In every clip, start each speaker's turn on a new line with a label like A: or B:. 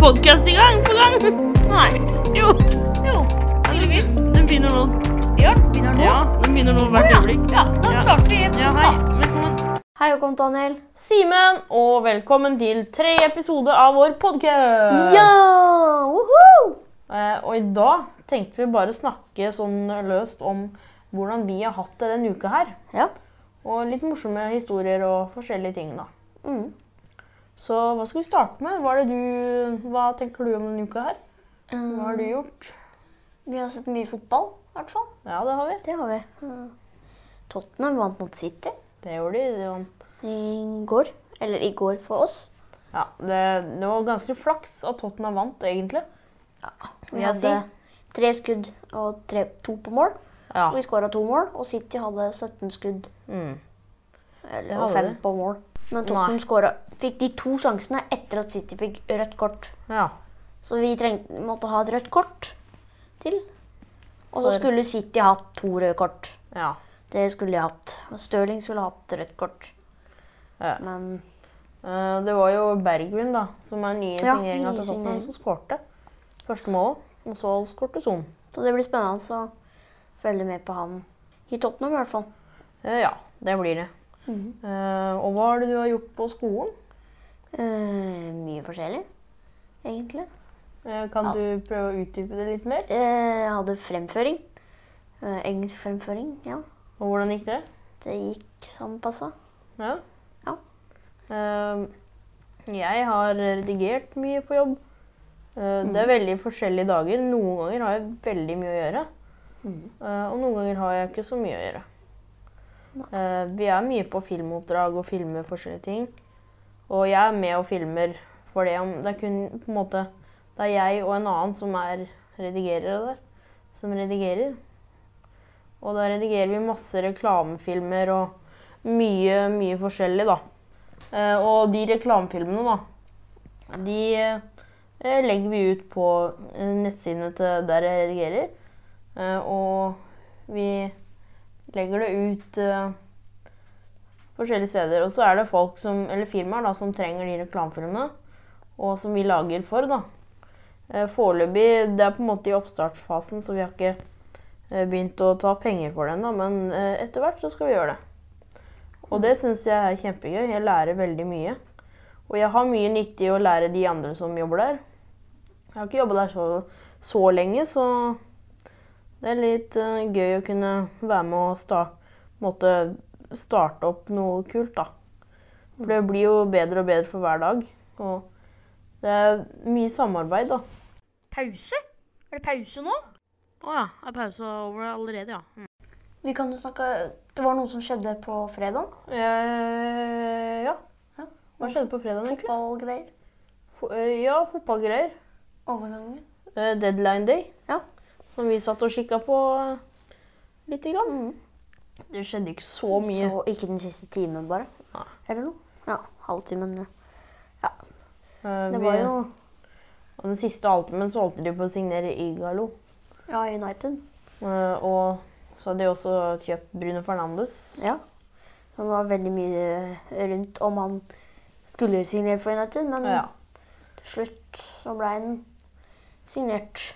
A: podkast i gang på gang.
B: Nei.
A: Jo.
B: Jo, tydeligvis.
A: Den begynner nå.
B: Ja, begynner nå.
A: Ja, den begynner nå hvert øyeblikk.
B: Ja, da
A: Ja.
B: starter vi.
A: Ja, hei. Velkommen.
C: Hei, velkommen, Daniel.
A: Simen, og velkommen til tre episode av vår podkast.
C: Ja! Woohoo!
A: Eh, og i dag tenkte vi bare snakke sånn løst om hvordan vi har hatt det denne uka her.
C: Ja.
A: Og litt morsomme historier og forskjellige ting, da.
C: Mm.
A: Så hva skal vi starte med? Hva, er det du, hva tenker du om denne uka her? Hva har du gjort?
C: Um, Vi har sett mye fotball, i hvert fall.
A: Ja, det har vi.
C: Det har vi. Tottenham vant mot City
A: Det gjorde de. Det var,
C: i går. Eller i går for oss.
A: ja, det, det var ganske flaks at Tottenham vant, egentlig.
C: Vi
A: Ja,
C: hadde tre skudd og tre, to på mål.
A: Ja.
C: Og vi skåra to mål, og City hadde 17 skudd
A: Mm.
C: eller,
A: Det
C: og
A: hadde
C: fem
A: de.
C: på mål. Men Tottenham
A: Nei.
C: skåra Fikk de to sjansene etter at City fikk rødt kort.
A: ja.
C: Så vi trengte, måtte ha et rødt kort til. Og så
A: For-
C: skulle City hatt to røde kort.
A: ja.
C: Det skulle de hatt. Og Stirling skulle hatt rødt kort.
A: Ja.
C: Men
A: Eh, det var jo Bergwin, da, som er nye
C: Ja,
A: signeringa til
C: nye
A: Tottenham,
C: signering.
A: som skårte første målet. Og så skårte Son.
C: Så det blir spennende å følge med på han i Tottenham i hvert fall.
A: Eh, ja, det blir det. Eh, og hva er det du har gjort på skolen?
C: Eh, mye forskjellig, egentlig.
A: Eh, kan
C: Ja.
A: du prøve å utdype det litt mer?
C: Eh, jeg hadde fremføring. Eh, engelsk fremføring, ja.
A: Og hvordan gikk det?
C: Det gikk som passa.
A: Ja.
C: Ja.
A: Eh, jeg har redigert mye på jobb. Eh, Det er
C: Mm.
A: veldig forskjellige dager. Noen ganger har jeg veldig mye å gjøre. Eh, og noen ganger har jeg ikke så mye å gjøre. Eh, vi er mye på filmoppdrag og filmer forskjellige ting. Og jeg er med og filmer for det om Det er kun på en måte Det er jeg og en annen som er redigerere der. Som redigerer. Og da redigerer vi masse reklamefilmer og mye, mye forskjellig, da. Eh, og de reklamefilmene, da, de eh, legger vi ut på eh, nettsidene til der jeg redigerer. Eh, og vi legger det ut eh, forskjellige steder. Og så er det folk som, eller firmaer da, som trenger de reklamefilmene, og som vi lager for, da. Eh, Foreløpig Det er på en måte i oppstartsfasen, så vi har ikke eh, begynt å ta penger for det ennå, men eh, etter hvert så skal vi gjøre det. Og det syns jeg er kjempegøy. Jeg lærer veldig mye. Og jeg har mye nyttig å lære de andre som jobber der. Jeg har ikke jobba der så, så lenge, så det er litt eh, gøy å kunne være med og sta, måtte starte opp noe kult, da. For det blir jo bedre og bedre for hver dag. Og det er mye samarbeid, da.
B: Pause? Er det pause nå?
A: Å ja. Er pausen over allerede, ja? Mm.
C: Vi kan jo snakke Det var noe som skjedde på fredag.
A: Eh, ja. Hva skjedde på fredag, egentlig?
C: Fotballgreier.
A: Fo- eh, ja, fotballgreier.
C: Overganger.
A: eh, Deadline Day.
C: Ja.
A: Som vi satt og kikka på eh, lite grann.
C: Mhm.
A: Det skjedde ikke så mye.
C: Så ikke den siste timen, bare.
A: Nei.
C: Eller noe. Ja, halvtimen. ja.
A: Eh,
C: Det
A: vi-
C: var jo
A: og Den siste halvtimen så holdt de på å signere Igalo.
C: ja, United.
A: Eh, og så hadde de også kjøpt Bruno Fernandes.
C: Ja. Han var veldig mye rundt om han skulle signere for United, men
A: Ja.
C: til slutt så ble han signert.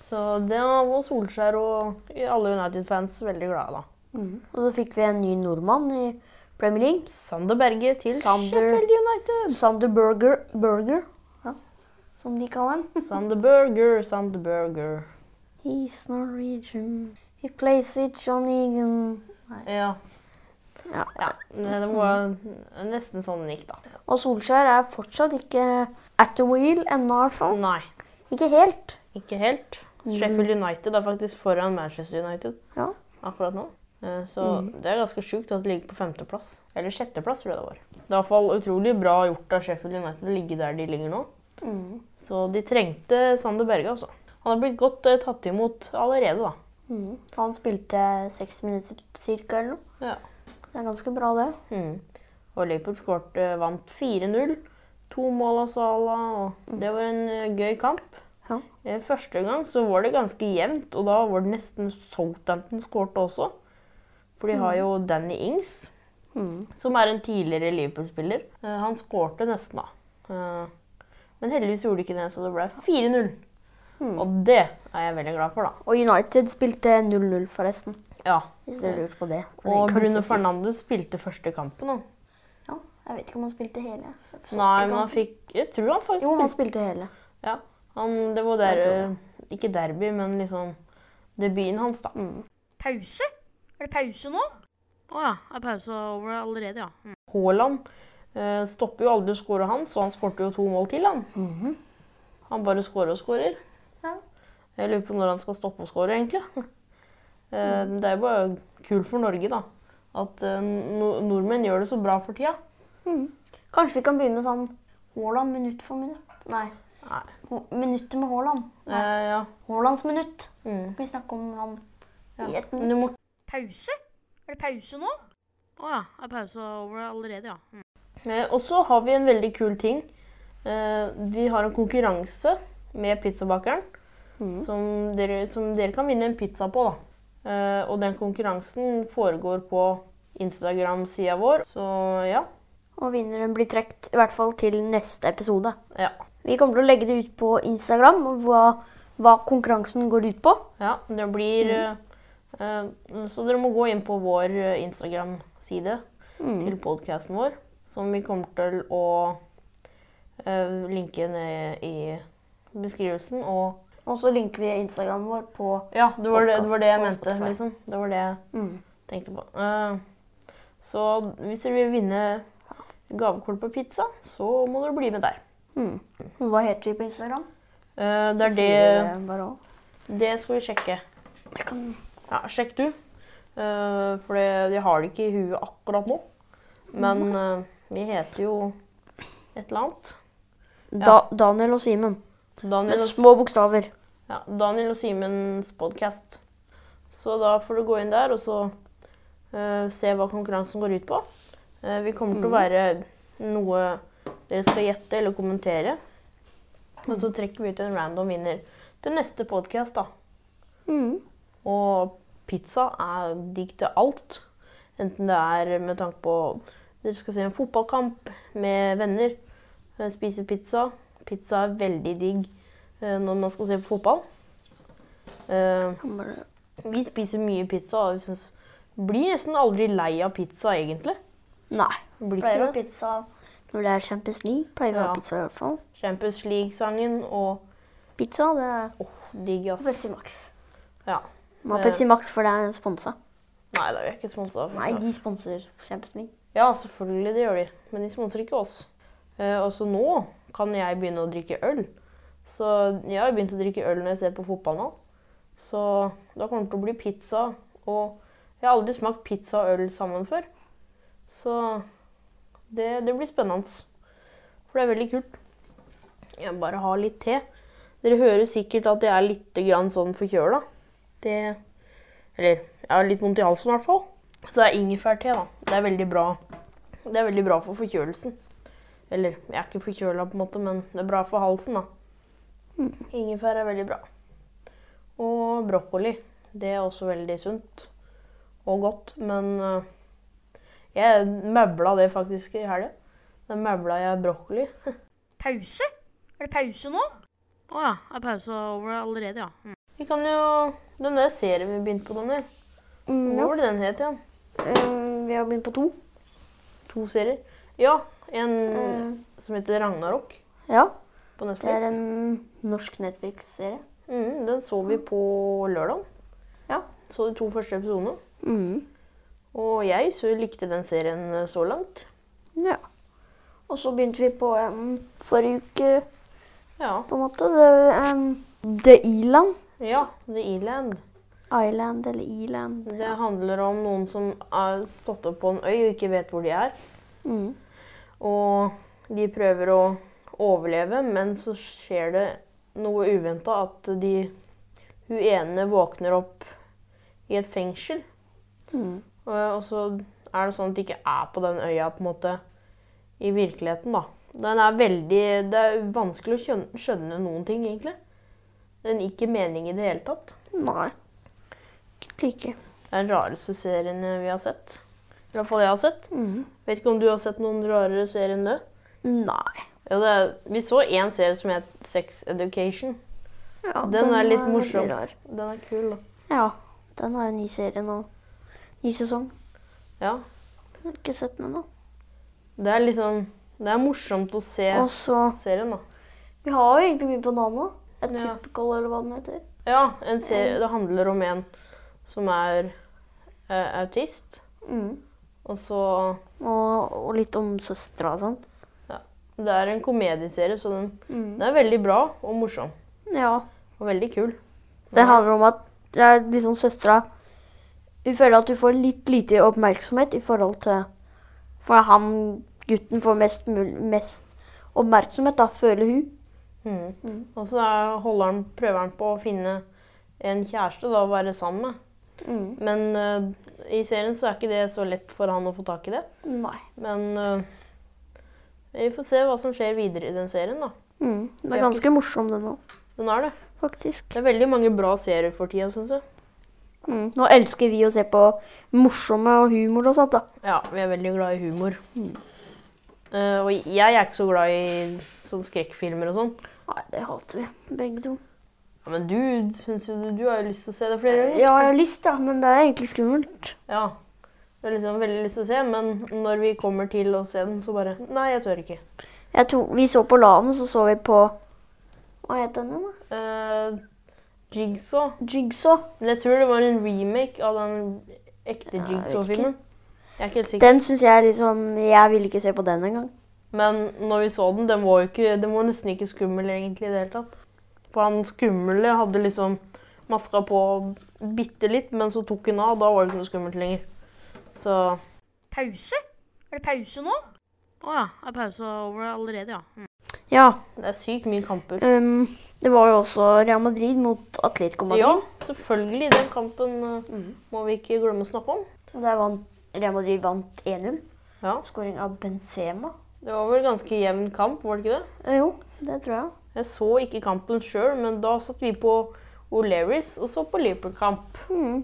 A: Så det var Solskjær og alle United-fans veldig glade, da.
C: Mm. Og så fikk vi en ny nordmann i Premier League.
A: Sander Berge til
C: Sander-
A: Sheffield United.
C: Sander Burger, Burger ja, som de kaller han.
A: Sander Burger, Sander Burger.
C: He's Norwegian. He plays with John Egan.
A: Ja.
C: Ja.
A: ja. Det var nesten sånn det gikk, da.
C: Og Solskjær er fortsatt ikke at the wheel ennå, i hvert fall.
A: Nei.
C: Ikke helt.
A: Ikke helt. Sheffield United er faktisk foran Manchester United
C: Ja.
A: akkurat nå. Eh, Så det er ganske sjukt at det ligger på femteplass. Eller sjetteplass, tror jeg det var. Det er iallfall utrolig bra gjort av Sheffield United å ligge der de ligger nå. Mm. Så de trengte Sander Berge, altså. Han har blitt godt eh, tatt imot allerede, da.
C: Mm. Han spilte seks minutter cirka eller noe.
A: Ja.
C: Det er ganske bra, det.
A: Mm. Og Liverpool skårte, vant 4-0. To mål av Salah. Og det var en eh, gøy kamp.
C: Mm. Ja.
A: Eh, Første gang så var det ganske jevnt, og da var det nesten Southampton skårte også. For de
C: Mm.
A: har jo Danny Ings, Mm. som er en tidligere Liverpool-spiller. Eh, Han skårte nesten, da. Eh, Men heldigvis gjorde de ikke det, så det ble 4-0.
C: Hmm.
A: Og det er jeg veldig glad for, da.
C: Og United spilte 0-0, forresten.
A: Ja.
C: Hvis dere lurte på det. For det
A: Og
C: kan
A: Bruno
C: jeg si.
A: Fernandes spilte første kampen. Han.
C: Ja, jeg vet ikke om han spilte hele.
A: Nei, men han fikk Jeg tror han faktisk
C: Jo, han
A: spilte.
C: spilte hele.
A: Ja. Han, det var der, eh,
C: Jeg tror
A: ikke derby, men liksom debuten hans, da.
B: Pause? Er det pause nå? Å ja. Er pausa over allerede, ja? Mm.
A: Haaland eh, stopper jo aldri å skåre han, så han skårte jo to mål til, han. Han bare skårer og skårer.
C: Ja.
A: Jeg lurer på når han skal stoppe å skåre, egentlig. Eh, Det er jo bare kult for Norge, da. At eh, no nordmenn gjør det så bra for tida.
C: Kanskje vi kan begynne med sånn Haaland minutt for minutt? Nei.
A: Nei.
C: Ho- Minuttet med Haaland.
A: Eh, ja.
C: Haalands minutt.
A: Mm.
C: Kan vi snakke om han
A: Ja.
C: i et
A: Men du
C: minutt?
A: må
B: Pause? Er det pause nå? Å ja. Er pausa over allerede, ja? Mm.
A: Eh, Og så har vi en veldig kul ting. Eh, Vi har en konkurranse med pizzabakeren som, dere, som dere kan vinne en pizza på. Da. Eh, Og den konkurransen foregår på Instagram-sida vår. Så ja.
C: Og vinneren blir trukket i hvert fall til neste episode.
A: Ja.
C: Vi kommer til å legge det ut på Instagram hva, hva konkurransen går ut på.
A: ja det blir eh, eh, Så dere må gå inn på vår eh, Instagram-side
C: Mm.
A: til podkasten vår, som vi kommer til å eh, linke ned i beskrivelsen. og
C: Og så linker vi Instagramen vår på
A: Ja, det var det, det, var det jeg
C: Podcast på
A: mente.
C: Spotify.
A: Liksom. Det var det jeg
C: Mm.
A: tenkte på. Eh, så hvis dere vil vinne gavekort på pizza, så må dere bli med der.
C: Mm. Hva heter vi på Instagram?
A: Eh, det er
C: Sier
A: det
C: dere bare også.
A: Det skal vi sjekke.
C: Jeg kan...
A: Ja, sjekk du. Eh, for det, jeg har det ikke i huet akkurat nå. Men eh, vi heter jo et eller annet.
C: da, Daniel og Simen. Med
A: Daniel og,
C: små bokstaver.
A: ja, Daniel og Simens podkast. Så da får du gå inn der og så eh, se hva konkurransen går ut på. Eh, vi kommer til å være noe dere skal gjette eller kommentere. Og så trekker vi ut en random vinner til neste podkast, da.
C: Mm.
A: Og pizza er digg til alt. Enten det er med tanke på dere skal se en fotballkamp med venner, eh, spise pizza. Pizza er veldig digg eh, når man skal se på fotball. Eh, vi spiser mye pizza, og vi synes, blir nesten aldri lei av pizza, egentlig.
C: Nei.
A: Blir
C: Pleier å ha
A: ikke det.
C: pizza når det er Champions League. Pleier vi å
A: Ja.
C: ha pizza i hvert fall.
A: Champions League-sangen og
C: Pizza, det er
A: åh, digg, ass.
C: Pepsi Max.
A: Ja.
C: Må
A: Eh.
C: ha Pepsi Max, for det er sponsa.
A: Nei, det er jo ikke sponsa.
C: Nei, de sponser Champions League.
A: Ja, selvfølgelig, det gjør de. Men de sponser ikke oss. Eh, og så nå kan jeg begynne å drikke øl. Så jeg har begynt å drikke øl når jeg ser på fotball nå. Så da kommer det til å bli pizza og Jeg har aldri smakt pizza og øl sammen før. Så det, det blir spennende. For det er veldig kult. Jeg bare har litt te. Dere hører sikkert at jeg er litt grann sånn forkjøla. Det Eller jeg har litt vondt i halsen i hvert fall. Så det er ingefærte, da. Det er veldig bra. Det er veldig bra for forkjølelsen. Eller jeg er ikke forkjøla, på en måte, men det er bra for halsen, da.
B: Mm.
A: Ingefær er veldig bra. Og brokkoli. Det er også veldig sunt og godt, men øh, jeg møbla det faktisk i helga. Da møbla jeg brokkoli.
B: Pause? Er det pause nå? Å ja. Er pausa over allerede, ja? Mm.
A: Vi kan jo Den der serien vi begynte på, Daniel.
C: Mm,
A: Hva var det den het igjen?
C: Eh, vi har begynt på to.
A: To serier? Ja, en
B: Eh,
A: som heter Ragnarok
C: Mm. Ja,
A: på Netflix.
C: det er en norsk Netflix-serie.
A: Mm, den så vi på lørdag.
C: Ja.
A: Så de to første episodene.
C: Mm.
A: Og jeg så likte den serien eh, så langt.
C: Ja. Og så begynte vi på em, forrige uke,
A: Ja.
C: på en måte. Det, em, The Island.
A: ja The Eland.
C: Island eller Island.
A: Det handler om noen som er stått opp på en øy og ikke vet hvor de er.
C: Mm.
A: Og de prøver å overleve, men så skjer det noe uventa at de hun ene våkner opp i et fengsel.
C: Mm.
A: Og, og så er det sånn at de ikke er på den øya på en måte i virkeligheten, da. Den er veldig Det er vanskelig å skjønne, skjønne noen ting, egentlig. Den gir ikke mening i det hele tatt.
C: Nei. Ikke like.
A: Det er den rareste serien vi har
C: Mm.
A: sett. I hvert fall jeg har sett. Vet ikke om du har sett noen rarere serier enn det?
C: Nei.
A: Ja, det, er- vi så én serie som het Sex Education.
C: Ja,
A: Den er litt
C: veldig
A: morsom.
C: rar.
A: Den er kul, da.
C: Ja, den har en ny serie nå. Ny sesong.
A: Ja.
C: Jeg har ikke sett den ennå.
A: Det er liksom Det er morsomt å se
C: Og så
A: serien, da.
C: Vi har jo egentlig mye banana. Et
A: Ja.
C: typical, eller hva den heter.
A: Ja, en serie, det handler om en som er eh, autist,
C: Mm.
A: og så
C: Og, og litt om søstera og sånn.
A: Det er en komedieserie, så den,
C: Mm.
A: den er veldig bra og morsom.
C: Ja.
A: Og veldig kul.
C: Det handler om at det er liksom søstera Hun føler at hun får litt lite oppmerksomhet i forhold til For han gutten får mest, mul- mest oppmerksomhet, da, føler hun.
A: Mhm.
C: Mm.
A: Og så er- holder han, prøver han på å finne en kjæreste da, å være sammen med.
C: Mm.
A: Men eh, i serien så er ikke det så lett for han å få tak i det.
C: Nei.
A: Men eh, vi får se hva som skjer videre i den serien, da.
C: Mm. Den er ganske morsom, den òg,
A: Den er det.
C: faktisk.
A: Det er veldig mange bra serier for tida, syns jeg.
C: Mm. Nå elsker vi å se på morsomme og humor og sånt, da.
A: Ja, vi er veldig glad i humor. Eh, og jeg er ikke så glad i sånne skrekkfilmer og sånn.
C: Nei, det hater vi, begge to.
A: Ja, men du synes jo du, du har jo lyst til å se det flere ganger.
C: Ja, jeg har lyst, da, men det er egentlig skummelt.
A: Ja. Det er liksom veldig lyst til å se, men når vi kommer til å se den, så bare Nei, jeg tør ikke.
C: Jeg tror, vi så på LAN, så så vi på Hva het den igjen, da?
A: Eh, Jigsaw.
C: Jigsaw.
A: Men jeg tror det var en remake av den ekte
C: Ja, jeg vet
A: Jigsaw-filmen. Jeg er ikke helt sikker.
C: Den syns jeg liksom Jeg ville ikke se på den engang.
A: Men når vi så den, den var jo ikke, den var nesten ikke skummel egentlig i det hele tatt. For han skumle hadde liksom maska på bitte litt, men så tok hun av, og da var det ikke noe skummelt lenger. Så
B: Pause? Er det pause nå? Å ja. Er pause over allerede, ja. Mm.
C: Ja.
A: det er sykt mye kamper.
C: ehm, det var jo også Real Madrid mot Atletico Madrid. Mm.
A: Ja, selvfølgelig. Den kampen eh, må vi ikke glemme å snakke om.
C: Og Der vant, Real Madrid vant 1-0.
A: Ja,
C: Skåring av Benzema.
A: Det var vel ganske jevn kamp, var det ikke det?
C: Eh, jo, det tror jeg.
A: Jeg så ikke kampen sjøl, men da satt vi på O'Lerris og så på Liverpool-kamp.
C: Mm.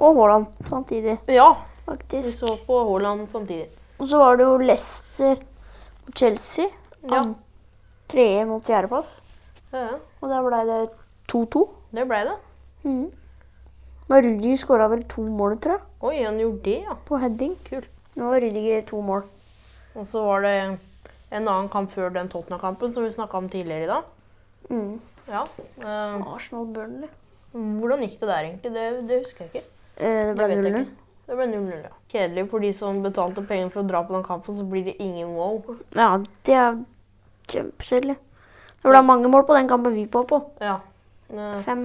C: Og Haaland samtidig,
A: Ja, vi
C: faktisk.
A: så på Haaland samtidig.
C: Og så var det jo Leicester mot Chelsea.
A: Ja.
C: An- Tredje mot fjerdeplass.
A: Ja, ja.
C: Og der ble det 2-2.
A: det blei det.
C: Mm. Og Rudiger skåra vel to mål, tror jeg,
A: Oi, han gjorde det, ja.
C: på heading.
A: Kult.
C: Nå har Rudiger to mål.
A: Og så var det en annen kamp før den Tottenham-kampen som vi snakka om tidligere i dag.
C: Mm.
A: Ja. eh,
C: Arsenal-Burnley.
A: hvordan gikk det der, egentlig? Det, det husker jeg ikke.
C: Eh, det
A: Det
C: ble
A: vet jeg
C: 0-0.
A: ikke. Det ble 0-0, ja. Kjedelig for de som betalte penger for å dra på den kampen, så blir det ingen wow.
C: Ja, det er kjempekjedelig. Det ble mange mål på den kampen vi var på.
A: Ja. eh,
C: Fem,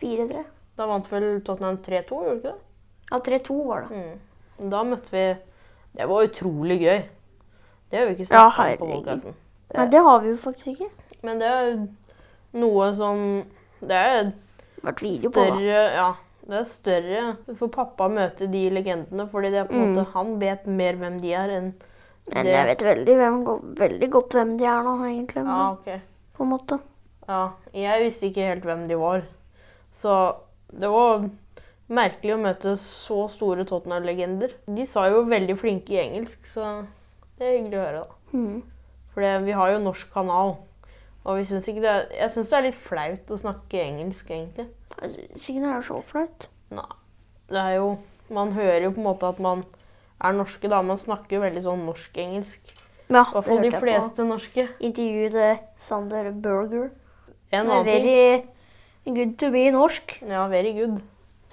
C: fire, tre.
A: Da vant vel Tottenham 3-2, gjorde de ikke det? Mm.
C: Ja, tre-to var det.
A: Da møtte vi Det var utrolig gøy. Det har vi ikke
C: Ja,
A: snakket om på
C: herregud.
A: podkasten.
C: Nei, det har vi jo faktisk ikke.
A: Men det er noe som Det er
C: Det har vært video på det.
A: større Ja, det er større for pappa å møte de legendene, fordi det er på en måte han vet mer hvem de er enn
C: Men
A: det-
C: jeg vet veldig, hvem, veldig godt hvem de er nå, egentlig.
A: Ja,
C: men
A: ok.
C: På en måte.
A: Ja, jeg visste ikke helt hvem de var. Så det var merkelig å møte så store Tottenham-legender. De sa jo veldig flinke i engelsk, så det er hyggelig å høre, da.
C: Mhm.
A: For vi har jo norsk kanal, og vi syns ikke det er, jeg syns det er litt flaut å snakke engelsk, egentlig.
C: Jeg synes ikke det er så flaut.
A: Nei. Det er jo Man hører jo på en måte at man er norske, da. Man snakker jo veldig sånn norsk-engelsk.
C: Ja,
A: I
C: det
A: hvert fall de
C: hørte jeg på
A: fleste norske.
C: intervjuet til Sander Burger.
A: En
C: Det er
A: annen ting.
C: Very good to be norsk.
A: Ja, very good.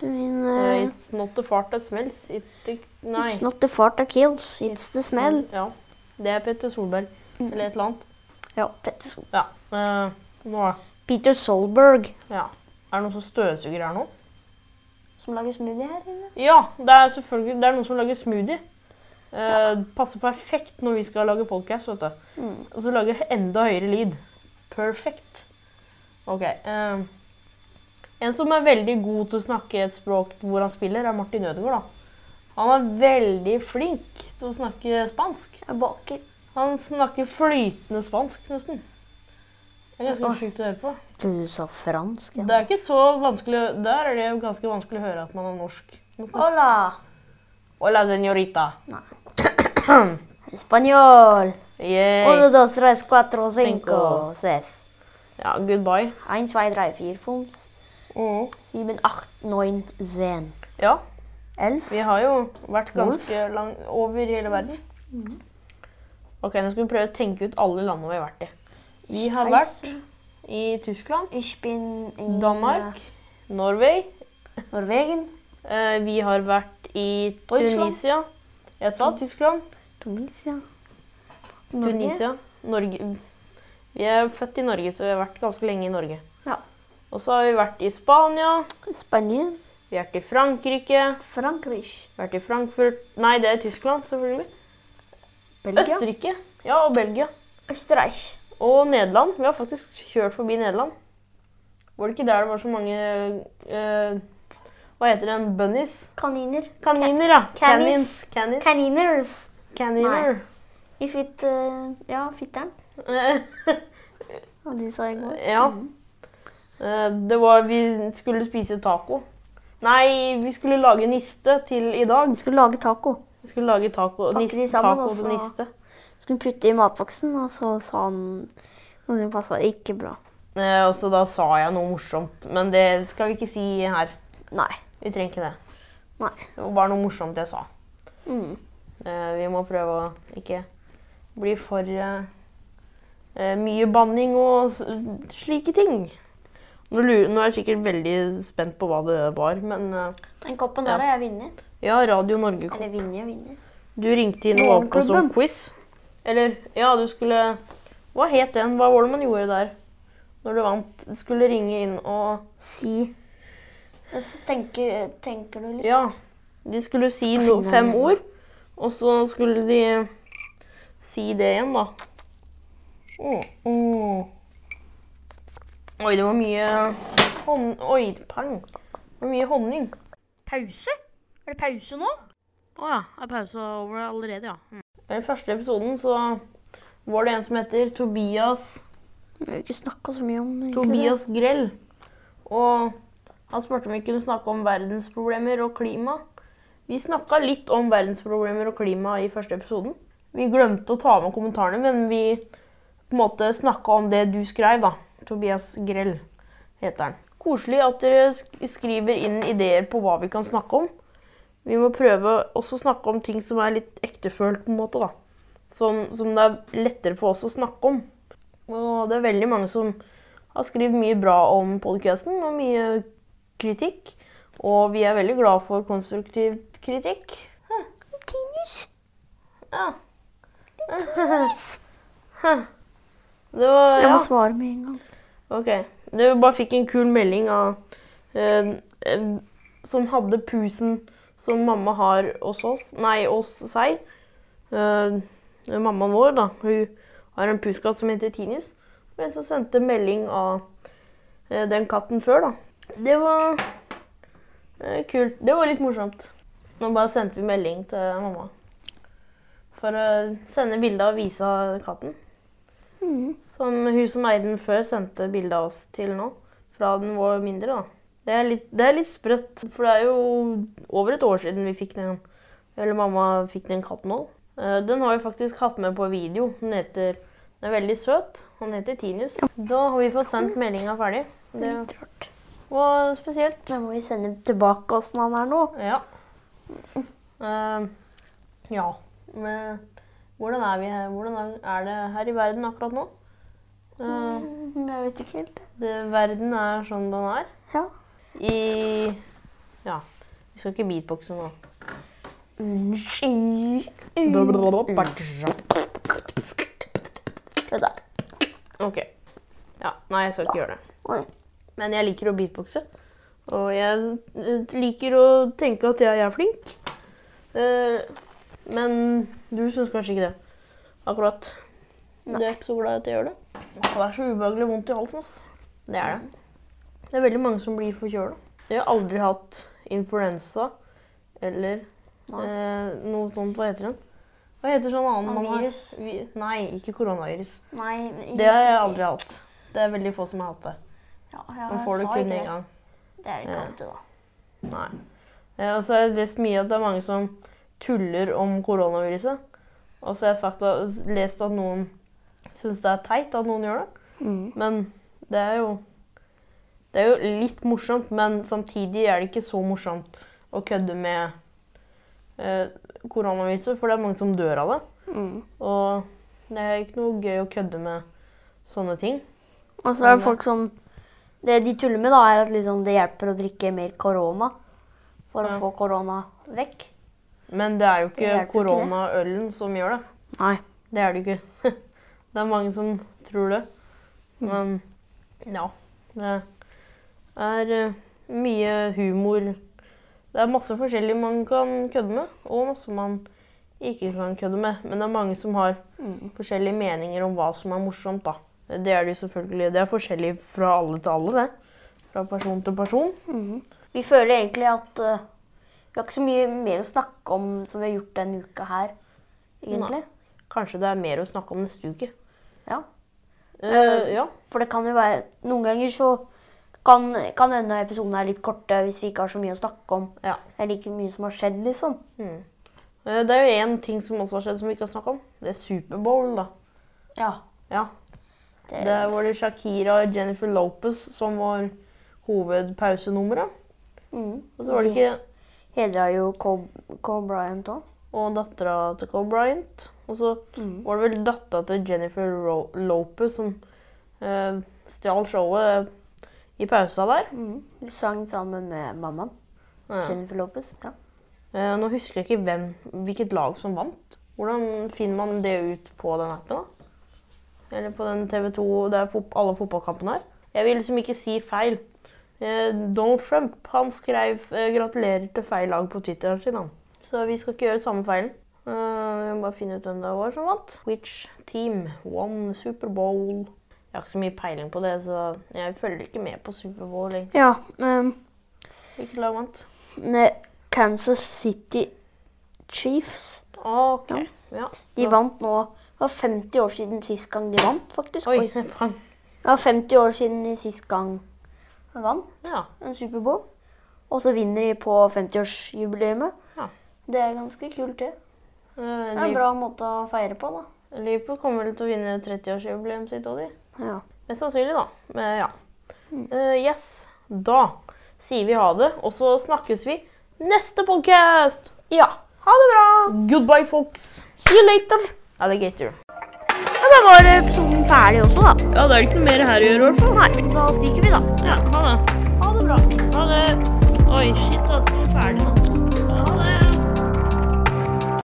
C: Min,
A: Uh,
C: uh,
A: it's not the fart that smells. It, it, nei.
C: it's not the fart that kills, it's the smell.
A: Ja. Det er Petter Solberg. Eller et Mm, eller annet.
C: Ja, Petter Sol-
A: Ja. eh, nå er
C: Peter Solberg.
A: ja. Er det noen som støvsuger her nå?
C: Som lager smoothie her inne.
A: Ja, det er selvfølgelig det er noen som lager smoothie. Eh, Passer perfekt når vi skal lage podcast, vet du.
C: Mm.
A: Og så lager jeg enda høyere lyd. Perfect. Ok. eh, en som er veldig god til å snakke et språk hvor han spiller, er Martin Ødegaard. da. Han er veldig flink til å snakke spansk.
C: Jeg baker.
A: Han snakker flytende spansk, nesten. Det er ganske
C: Oi.
A: sjukt å høre på.
C: Du sa fransk,
A: Det er ikke så vanskelig å- Der er det jo ganske vanskelig å høre at man er norsk.
C: Hola!
A: Hola, señorita.
C: Spanjol!
A: Yay.
C: Uno, dos, tres, cuatro, cinco,
A: Cinco.
C: seis.
A: Ja, goodbye.
C: Eins, zwei, drei, vier, fünf, Mm. sieben, acht, neun, zehn.
A: Ja,
C: Elf.
A: vi har jo vært
C: Wolf.
A: ganske lang over hele verden.
C: Mm.
A: Ok, nå skal vi prøve å tenke ut alle landene vi har vært i. Vi har vært
C: Schweiz.
A: i Tyskland,
C: Ich bin in
A: Danmark, Norway.
C: eh, Norwegen.
A: Eh, Vi har vært i
C: Deutschland.
A: Tunisia. Jeg sa Tyskland.
C: Tunisia. Norge.
A: Tunisia. Norge. Vi er født i Norge, så vi har vært ganske lenge i Norge.
C: Ja.
A: Og så har vi vært i Spania,
C: Spania.
A: vi har vært i Frankrike,
C: Frankrike.
A: vært i Frankfurt Nei, det er Tyskland, selvfølgelig.
C: Belgia.
A: Østerrike. Ja, og Belgia.
C: Østerreich.
A: Og Nederland. Vi har faktisk kjørt forbi Nederland. Var det ikke der det var så mange eh, Hva heter den? Bunnies?
C: Kaniner.
A: Kaniner, ja.
C: Cannies.
A: Cannies.
C: Kaniners.
A: Caniner.
C: I fitt... eh, ja, fitteren.
A: Eh,
C: Og de sa i går. Mm.
A: Ja. Eh, Det var Vi skulle spise taco. Nei, vi skulle lage niste til i dag.
C: Vi skulle lage taco.
A: Vi skulle lage taco,
C: Pakke de
A: niste,
C: sammen,
A: taco
C: og
A: til
C: så-
A: niste.
C: Vi skulle putte i matboksen, og så sa han noe som passa ikke bra.
A: Eh, Og så da sa jeg noe morsomt, men det skal vi ikke si her.
C: Nei.
A: Vi trenger ikke det.
C: Nei.
A: Det var bare noe morsomt jeg sa.
C: Mm.
A: Eh, Vi må prøve å ikke bli for eh, eh, mye banning og s- slike ting. Nå lurer- nå er jeg sikkert veldig spent på hva det var, men eh,
C: Den koppen
A: der
C: der
A: Ja.
C: har jeg vunnet.
A: ja, Radio Norge kom.
C: Eller vinner, vinner.
A: Du ringte inn og var på sånn
C: Morgenklubben.
A: quiz. Eller, ja, du skulle Hva het den? Hva var det man gjorde der? Når du vant, du skulle ringe inn og
C: Si. Tenker, tenker du litt?
A: Ja. De skulle si
C: På
A: no,
C: fingeren,
A: fem
C: eller?
A: ord, og så skulle de si det igjen, da. Mm, mm. Oi, det var mye hon, Oi, pang. Det var mye honning.
B: Pause? Er det pause nå? Å ja. Er pause over allerede, ja. Mm.
A: I den første episoden så var det en som heter Tobias
C: Vi har jo ikke snakka så mye om egentlig
A: Tobias Grell. Og han spurte om vi kunne snakke om verdensproblemer og klima. Vi snakka litt om verdensproblemer og klima i første episoden. Vi glemte å ta med kommentarene, men vi på en måte snakka om det du skrev, da. Tobias Grell heter han. Koselig at dere sk- skriver inn ideer på hva vi kan snakke om. Vi må prøve å også snakke om ting som er litt ektefølt, på en måte, da. Som, som det er lettere for oss å snakke om. Og det er veldig mange som har skrevet mye bra om podcasten, og mye kritikk. Og vi er veldig glad for konstruktiv kritikk. Hæ. Ja. Hæ. Det var,
C: Jeg
A: ja.
C: må svare med en gang.
A: Ok. Du bare fikk en kul melding av eh, en Som hadde pusen som mamma har hos oss Nei, hos seg. Eh, mammaen vår, da. Hun har en puskatt som heter Tinis. Og jeg så sendte melding av eh, den katten før, da. Det var eh, kult. Det var litt morsomt. Nå bare sendte vi melding til mamma. For å sende bilde og vise av katten.
C: Mm.
A: Som hun som eide den før, sendte bilde av oss til nå. Fra den var mindre, da. Det er litt, det er litt sprøtt, for det er jo over et år siden vi fikk den. Eller mamma fikk den katten òg. Den har vi faktisk hatt med på video. Den heter Den er veldig søt. Han heter Tinus. Da har vi fått sendt meldinga ferdig. Det
C: Litt rart.
A: var spesielt.
C: Da må vi sende tilbake åssen han er nå.
A: Ja. Eh, ja. Men hvordan er vi her? Hvordan er- er det her i verden akkurat nå? Eh,
C: Mm. Jeg vet ikke helt.
A: det, verden er som den er.
C: Ja.
A: I Ja. Vi skal ikke beatboxe nå.
C: Det der.
A: OK. Ja, nei, jeg skal ikke gjøre det.
C: Oi.
A: Men jeg liker å beatboxe. Og jeg eh, liker å tenke at jeg er flink. Eh, men du syns kanskje ikke det akkurat. Du er ikke så glad i at jeg gjør det. Åh, Det er så ubehagelig vondt i halsen. ass. Det er det. Det er veldig mange som blir forkjøla. Jeg har aldri hatt influensa eller
C: Nei.
A: eh, noe sånt. Hva heter den? Hva heter sånn annen
C: Sånn
A: man har?
C: virus?
A: Vi, nei, ikke koronavirus.
C: Nei, men-
A: Det har jeg aldri hatt. Det er veldig få som har hatt det.
C: Ja, jeg
A: Man får det
C: sa ikke
A: kun én gang.
C: Det er ikke
A: Ja.
C: alltid, da.
A: Nei. Eh, Og så har jeg lest mye at det er mange som tuller om koronaviruset. Og så har jeg sagt at, lest at noen syns det er teit at noen gjør det.
C: Mm,
A: Men det er jo Det er jo litt morsomt, men samtidig er det ikke så morsomt å kødde med eh, koronaviruset, for det er mange som dør av det.
C: mm.
A: Og det er ikke noe gøy å kødde med sånne ting.
C: Og så er det folk som Det de tuller med, da, er at liksom det hjelper å drikke mer korona for
A: Ja.
C: å få korona vekk.
A: Men det er jo
C: Det
A: ikke
C: hjelper ikke det.
A: koronaølen som gjør det.
C: Nei.
A: Det er det jo ikke. Det er mange som tror det. Men ja. Det er eh, mye humor. Det er masse forskjellig man kan kødde med, og masse man ikke kan kødde med. Men det er mange som har
C: Mm,
A: forskjellige meninger om hva som er morsomt, da. Det er det jo selvfølgelig. Det er forskjellig fra alle til alle, det. Fra person til person.
C: mm. Vi føler egentlig at eh, vi har ikke så mye mer å snakke om som vi har gjort denne uka her, egentlig.
A: Kanskje det er mer å snakke om neste uke.
C: Ja.
A: Eh, ja.
C: For det kan jo være Noen ganger så kan, kan denne episoden her litt korte hvis vi ikke har så mye å snakke om.
A: ja.
C: Det er like mye som har skjedd, liksom.
A: Eh, Det er jo én ting som også har skjedd som vi ikke har snakka om. Det er Superbowl, da.
C: Ja.
A: Ja,
C: Det,
A: Der var det Shakira og Jennifer Lopez som var hovedpausenummeret.
C: mm.
A: Og så var det ikke
C: Hedra jo Cole Cole Bryant òg.
A: Og dattera til Cole Bryant. Og så
C: Mm.
A: var det vel dattera til Jennifer Ro Lopez som eh, stjal showet i pausa der.
C: Du Mm. sang sammen med mammaen.
A: Ja.
C: Jennifer Lopez. Ja.
A: Eh, nå husker jeg ikke hvem, hvilket lag som vant. Hvordan finner man det ut på den appen? da? Eller på den TV2 der fot alle fotballkampene er? Jeg vil liksom ikke si feil. Eh, Donald Trump han skrev eh, 'gratulerer til feil lag' på Twitter sin. han. Så vi skal ikke gjøre samme feilen. Eh, jeg må bare finne ut hvem det var som vant. Which team won Superbowl? Jeg har ikke så mye peiling på det, så jeg følger ikke med på Superbowl. egentlig.
C: ja ehm,
A: Hvilket lag vant?
C: ne- Kansas City Chiefs.
A: OK.
C: Ja.
A: Ja.
C: De vant nå Det var 50 år siden sist gang de vant, faktisk.
A: Oi.
C: Oi.
A: pang.
C: Det var 50 år siden de sist gang de vant
A: Ja.
C: en Superbowl. Og så vinner de på 50-årsjubileet.
A: Ja.
C: Det er ganske kult, det. Det er en
A: Eh, Liverpool
C: bra måte å feire på, da.
A: Liverpool kommer vel til å vinne 30-årsjubileum sitt òg, de.
C: Ja.
A: Mest sannsynlig, da. Men ja. Eh, yes. Da sier vi ha det, og så snakkes vi neste podkast! Ja. Ha det bra! Goodbye, folks.
C: See you later!
A: Alligator.
C: Ja, Da var episoden ferdig også, da.
A: Ja, det er ikke noe mer her å gjøre, i hvert fall.
C: Nei, da stikker vi, da.
A: Ja, ha det. Ha det bra. Ha det. Oi, shit, altså. Ferdig nå.